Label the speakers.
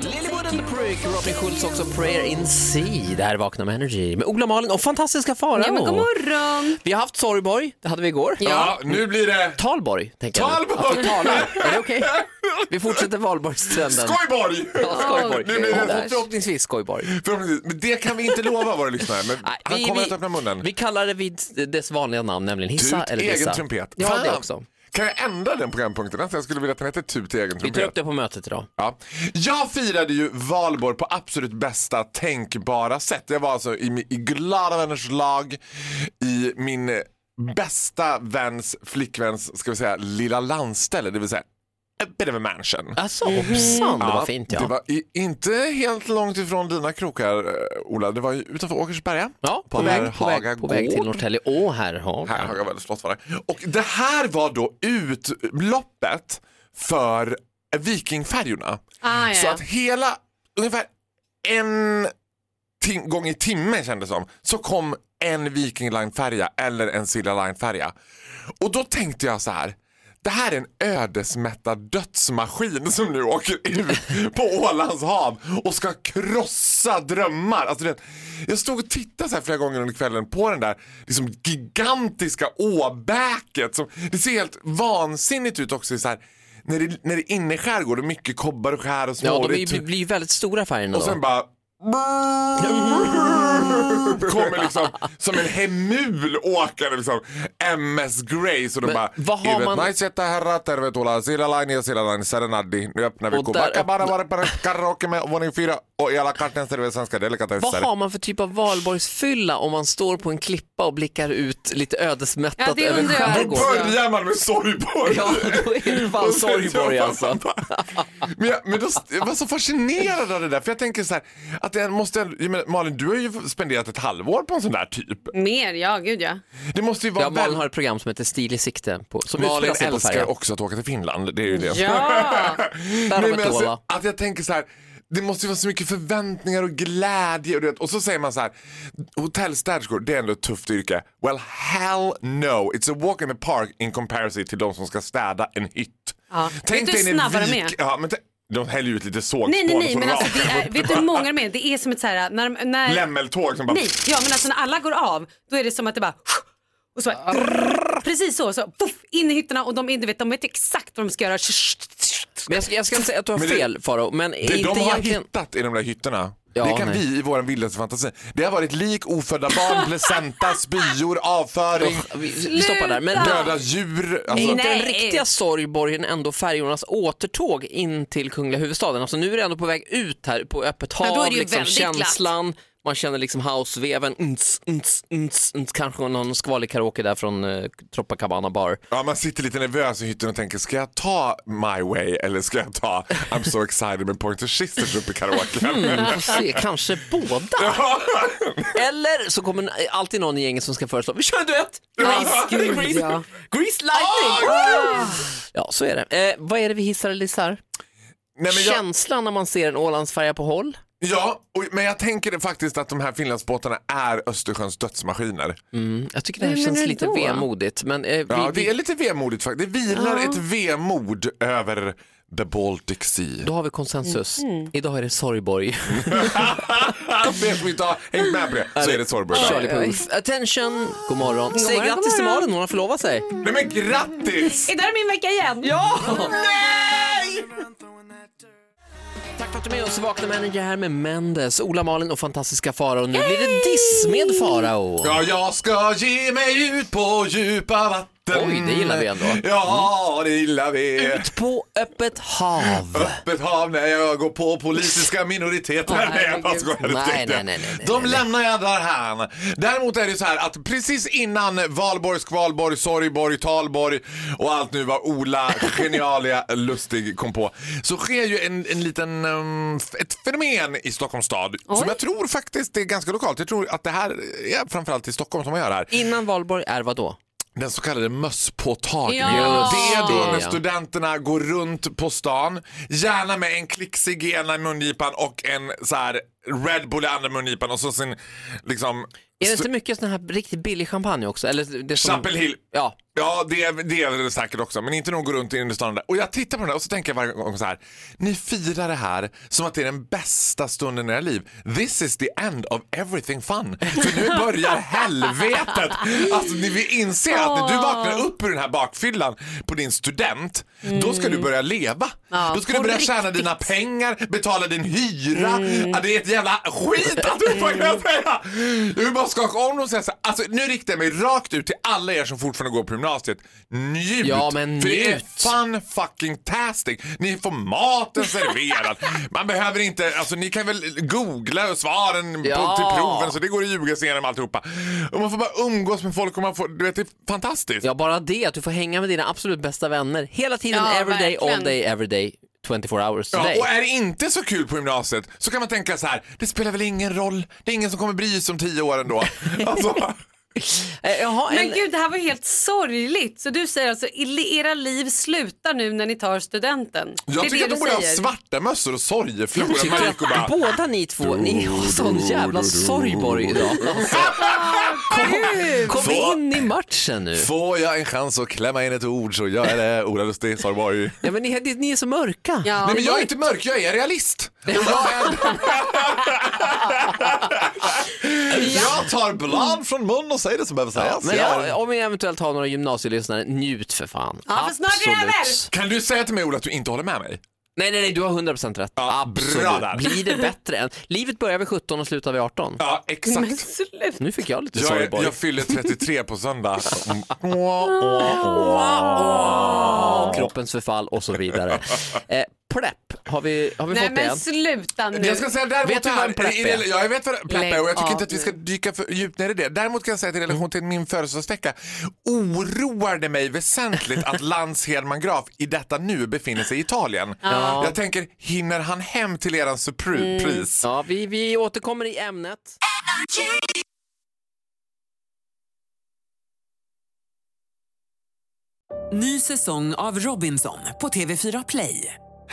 Speaker 1: Lilywood and the Prick, Robin Schultz också Prayer in Sea. Det här är Vakna med Energy med Ola Malin och fantastiska Farao.
Speaker 2: Ja, men god morgon!
Speaker 1: Vi har haft Sorgborg, det hade vi igår.
Speaker 3: Ja, nu blir det
Speaker 1: Talborg, tänker jag.
Speaker 3: Talborg!
Speaker 1: Att vi talar. Är det okej? Vi fortsätter valborgstrenden.
Speaker 3: Skojborg!
Speaker 1: Ja, skojborg.
Speaker 3: Nu blir det-
Speaker 1: Och förhoppningsvis skojborg.
Speaker 3: Förhoppningsvis. Men det kan vi inte lova våra lyssnare, men
Speaker 1: Nej,
Speaker 3: han kommer att öppna munnen.
Speaker 1: Vi kallar det vid dess vanliga namn, nämligen hissa
Speaker 3: Tut
Speaker 1: eller
Speaker 3: egen
Speaker 1: dissa.
Speaker 3: trumpet.
Speaker 1: Ja, det
Speaker 3: Fan.
Speaker 1: också.
Speaker 3: Kan jag ändra den programpunkten? Alltså, jag skulle vilja att den hette Tut i egen
Speaker 1: Vi tar
Speaker 3: trumpet.
Speaker 1: upp det på mötet idag.
Speaker 3: Ja. Jag firade ju valborg på absolut bästa tänkbara sätt. Jag var alltså i, mi- i glada vänners lag i min eh, bästa väns flickväns ska vi säga, lilla landställe, det vill säga a bit of a mansion.
Speaker 1: Alltså,
Speaker 2: Mhm.
Speaker 1: hoppsan, det var fint ja.
Speaker 3: Det var i, inte helt långt ifrån dina krokar, eh, Ola. Det var ju utanför Åkersberga.
Speaker 1: Ja, på,
Speaker 3: Den här
Speaker 1: väg, på, väg, på
Speaker 3: Hagagård.
Speaker 1: väg till Norrtälje. Åh, här har
Speaker 3: Här har jag väl slått var det. Och det här var då utloppet för vikingfärjorna.
Speaker 2: Ah, ja,
Speaker 3: Så
Speaker 2: ja.
Speaker 3: att hela, ungefär en tim- gång i timmen kändes det som, så kom en Viking Line-färja eller en Silja Line-färja. Och då tänkte jag så här, det här är en ödesmättad dödsmaskin som nu åker ut på Ålands hav och ska krossa drömmar. Alltså det, jag stod och tittade så här flera gånger under kvällen på den där liksom gigantiska åbäket. Som, det ser helt vansinnigt ut också. i Så här, när det, när det är inne i skärgård och mycket kobbar och skär och
Speaker 1: Ja, de
Speaker 3: snårigt.
Speaker 1: är ju- blir ju väldigt stora färgerna
Speaker 3: Och
Speaker 1: då.
Speaker 3: sen bara kommer liksom som en hemul åkare liksom MS Grace och de
Speaker 1: Men
Speaker 3: bara
Speaker 1: vad har
Speaker 3: "Ivet
Speaker 1: man-
Speaker 3: Naisetta herrar tervetuloa Silalaini ja Silalaini serenadi Nu öppnar vi
Speaker 1: Och
Speaker 3: Kuba
Speaker 1: där
Speaker 3: Bara bara bara bara karaoke med våning fyra och i alla kartens serverar svenska
Speaker 1: Vad
Speaker 3: delikatessen
Speaker 1: har man för typ av valborgsfylla om man står på en klippa och blickar ut lite ödesmättat
Speaker 2: Ja, det
Speaker 1: över
Speaker 2: undrar jag.
Speaker 3: Då
Speaker 1: skärgården?
Speaker 3: börjar man med sorgborg
Speaker 1: Ja, då är det fan
Speaker 3: Och sen
Speaker 1: sorgborg
Speaker 3: jobbar
Speaker 1: alltså.
Speaker 3: man bara. Men, jag, men då, jag var så fascinerad av det där, för jag tänker så här, att det måste, jag menar, Malin du har ju spenderat ett halvår på en sån där typ.
Speaker 2: Mer, ja gud ja.
Speaker 3: Det måste ju vara
Speaker 1: Ja,
Speaker 3: väl-
Speaker 1: Malin har ett program som heter Stil i sikte på, som
Speaker 3: Malin
Speaker 1: utspelar sig på
Speaker 3: älskar
Speaker 1: färjan.
Speaker 3: också att åka till Finland, det är ju det.
Speaker 2: Ja!
Speaker 1: Där har
Speaker 3: Nej,
Speaker 1: vi
Speaker 3: men
Speaker 1: Tola.
Speaker 3: alltså, att jag tänker så här, det måste ju vara så mycket förväntningar och glädje. Och, du vet, och så säger man så här, hotellstäderskor, det är ändå ett tufft yrke. Well, hell no. It's a walk in the park in comparison till de som ska städa en hytt.
Speaker 2: Ja. Vet du hur
Speaker 3: en
Speaker 2: snabba de
Speaker 3: vik-
Speaker 2: är?
Speaker 3: Ja, men t- de häller ju ut lite sågspån
Speaker 2: Nej, nej, nej,
Speaker 3: från
Speaker 2: men alltså det
Speaker 3: raken
Speaker 2: är,
Speaker 3: upp.
Speaker 2: vet du hur många de är? Det är som ett så här, när, de- när,
Speaker 3: Lämmeltåg som bara...
Speaker 2: nej, ja men alltså när alla går av, då är det som att det bara och så bara, precis så, så puff, in i hytterna och de, är- du vet, de vet exakt vad de ska göra.
Speaker 1: Men jag ska, jag ska inte säga att du har
Speaker 3: Men det-
Speaker 1: fel Faro, men
Speaker 3: Det
Speaker 1: inte
Speaker 3: de har
Speaker 1: egentligen...
Speaker 3: hittat i de där hytterna,
Speaker 1: Ja,
Speaker 3: det kan
Speaker 1: nej.
Speaker 3: vi i vår vildaste fantasi. Det har varit lik, ofödda barn, placenta, spyor, avföring,
Speaker 1: Usch, vi vi stoppar där. Men
Speaker 2: Sluta!
Speaker 3: döda djur.
Speaker 1: Är
Speaker 3: Alltså,
Speaker 1: inte den
Speaker 2: Eh, Nej.
Speaker 1: riktiga sorgborgen ändå färjornas återtåg in till kungliga huvudstaden? Alltså nu är det ändå på väg ut här på öppet hav,
Speaker 2: Ja, då är det ju
Speaker 1: liksom
Speaker 2: väldigt glatt.
Speaker 1: känslan, man känner liksom houseveven, unts, unts, unts, unts, kanske någon skvalig karaoke där från eh, Tropacabana bar.
Speaker 3: ja, man sitter lite nervös i hytten och tänker, ska jag ta My Way eller ska jag ta I'm so excited med Pointer Sisters upp i karaoken?
Speaker 1: Vi får se, kanske båda. Eller så kommer alltid någon i gänget som ska föreslå, vi kör en duett! Grease,
Speaker 2: gud,
Speaker 1: Grease,
Speaker 2: ja.
Speaker 1: Grease Lightning! Woo! Ja, så är det. Eh, vad är det vi hissar eller dissar?
Speaker 3: Nej, men jag,
Speaker 1: Känslan när man ser en Ålandsfärja på håll?
Speaker 3: ja, och, men jag tänker det faktiskt att de här Finlandsbåtarna är Östersjöns dödsmaskiner.
Speaker 1: Jag tycker det här
Speaker 2: Hur menar
Speaker 1: känns
Speaker 2: du
Speaker 1: lite
Speaker 2: då?
Speaker 1: vemodigt. Men, eh, vi,
Speaker 3: Ja,
Speaker 1: Mm. vi,
Speaker 3: det är lite vemodigt faktiskt. Det vilar ett vemod över the Baltic Sea.
Speaker 1: Då har vi konsensus.
Speaker 2: Mm.
Speaker 1: Idag är det Sorgborg.
Speaker 3: För er som inte har hängt med på det så är det Sorgburg.
Speaker 1: Charlie Puth. Attention, god morgon. Säg
Speaker 2: morgon,
Speaker 1: grattis till
Speaker 2: god morgon.
Speaker 1: Malin, hon har förlovat sig.
Speaker 3: Nej men grattis!
Speaker 2: Är det min vecka igen?
Speaker 1: Ja! Nej! Tack för att du är med oss. Vakna med energi här med Mendes, Ola Malin och fantastiska Farao. Nu blir det diss med Farao.
Speaker 3: Ja, jag ska ge mig ut på djupa vatten.
Speaker 1: Oj, det gillar vi ändå.
Speaker 3: Ja, det gillar vi.
Speaker 1: Ut på öppet hav.
Speaker 3: Öppet hav när jag går på politiska minoriteter. nej, jag bara skojar.
Speaker 1: Nej, nej, nej, nej, nej,
Speaker 3: De
Speaker 1: nej.
Speaker 3: lämnar jag där här. Däremot är det så här att precis innan valborg, skvalborg, sorgborg, talborg och allt nu vad Ola genialia lustig kom på så sker ju en, en liten, um, ett fenomen i Stockholms stad som jag tror faktiskt är ganska lokalt. Jag tror att det här är framförallt i Stockholm som man gör det här.
Speaker 1: Innan valborg är vad då?
Speaker 3: Den så kallade mösspåtagningen.
Speaker 2: Ja.
Speaker 3: Det är då när
Speaker 1: Ja.
Speaker 3: studenterna går runt på stan, gärna med en klicksig i ena mungipan och en så här Red Bull i andra mungipan och så sin liksom...
Speaker 1: Är det
Speaker 3: stu-
Speaker 1: inte mycket sån här riktigt billig champagne också? Eller det som...
Speaker 3: Chapel Hill.
Speaker 1: Ja.
Speaker 3: Ja, det, det är det säkert också. Men inte nog gå runt i innerstan där. Och jag tittar på den där och så tänker jag varje gång så här. Ni firar det här som att det är den bästa stunden i era liv. This is the end of everything fun. För nu börjar helvetet. Alltså ni vi inser att när du vaknar upp ur den här bakfyllan på din student, då ska du börja leva.
Speaker 2: Ja,
Speaker 3: då ska du
Speaker 2: på
Speaker 3: börja tjäna dina pengar, betala din hyra.
Speaker 1: Mm.
Speaker 3: Ja, det är ett jävla skit att du får jag säga. Jag vill bara skaka om dem och säga så här. Alltså nu riktar jag mig rakt ut till alla er som fortfarande går på gymnasiet. Njut!
Speaker 1: Ja, men
Speaker 3: För det är
Speaker 1: njut.
Speaker 3: fun fucking tastic. Ni får maten serverad. Man behöver inte, alltså ni kan väl googla svaren på,
Speaker 1: Ja.
Speaker 3: till proven så det går att ljuga sig igenom alltihopa. Och man får bara umgås med folk och man får, du vet det är fantastiskt.
Speaker 1: ja, bara det att du får hänga med dina absolut bästa vänner hela tiden,
Speaker 2: Ja,
Speaker 1: every day, all
Speaker 2: verkligen.
Speaker 1: day, every day, 24 hours a
Speaker 3: Ja,
Speaker 1: day.
Speaker 3: och är det inte så kul på gymnasiet så kan man tänka så här, det spelar väl ingen roll, det är ingen som kommer bry sig om tio år ändå. Alltså,
Speaker 1: Eh, Jaha,
Speaker 2: Men
Speaker 1: en...
Speaker 2: gud, det här var ju helt sorgligt. Så du säger alltså, i- era liv slutar nu när ni tar studenten?
Speaker 3: jag
Speaker 2: det är
Speaker 3: tycker att
Speaker 2: det
Speaker 3: de
Speaker 2: du
Speaker 3: borde ha
Speaker 2: säger.
Speaker 3: svarta mössor och sorgeflor.
Speaker 1: Jag
Speaker 3: Man
Speaker 1: tycker
Speaker 3: gick och
Speaker 1: att
Speaker 3: bara,
Speaker 1: båda ni två, ni har sån jävla sorgborg idag. Alltså, Kom
Speaker 3: Så-
Speaker 1: in i matchen nu.
Speaker 3: Får jag en chans att klämma in ett ord så gör jag det. Ola Lustig, Sorgborg.
Speaker 1: Ja, men ni, ni är så mörka.
Speaker 2: Ja.
Speaker 3: Nej men jag är inte mörk, jag är realist. Och Jag, är... jag tar blad från mun och säger det som behöver sägas.
Speaker 1: Men
Speaker 3: Jag-
Speaker 1: ja, om vi eventuellt har några gymnasielyssnare, njut för fan.
Speaker 2: Ja, för snart är det över.
Speaker 3: Kan du säga till mig Ola att du inte håller med mig?
Speaker 1: Nej, nej, nej, du har 100% rätt.
Speaker 3: Ja,
Speaker 1: Absolut.
Speaker 3: bra där.
Speaker 1: Blir det bättre än... Livet börjar vid 17 och slutar vid 18.
Speaker 3: Ja,
Speaker 2: Men
Speaker 3: exakt.
Speaker 2: sluta.
Speaker 1: Nu fick jag lite
Speaker 3: Jag,
Speaker 1: sorry
Speaker 3: är,
Speaker 1: boy.
Speaker 3: jag fyller 33 på söndag.
Speaker 1: Kroppens förfall och så vidare. Eh, plepp, har vi, har vi
Speaker 2: Nej
Speaker 1: fått det
Speaker 2: men
Speaker 1: än?
Speaker 2: sluta nu.
Speaker 3: Jag ska säga däremot
Speaker 1: Vet du
Speaker 3: det här,
Speaker 1: vad en plepp
Speaker 3: i- i-
Speaker 1: är?
Speaker 3: Ja, jag vet vad en plepp
Speaker 2: Lägg
Speaker 3: är och jag tycker
Speaker 2: av
Speaker 3: inte att vi ska dyka för djupt ner i det. Däremot kan jag säga att i relation till min födelsedagsvecka oroar det mig väsentligt att Lans Hedman Graf i detta nu befinner sig i Italien. Jag tänker, hinner han hem till eran
Speaker 1: Mm.
Speaker 3: surprise?
Speaker 1: Ja, vi, vi återkommer i ämnet.
Speaker 4: Ny säsong av Robinson på TV4 Play.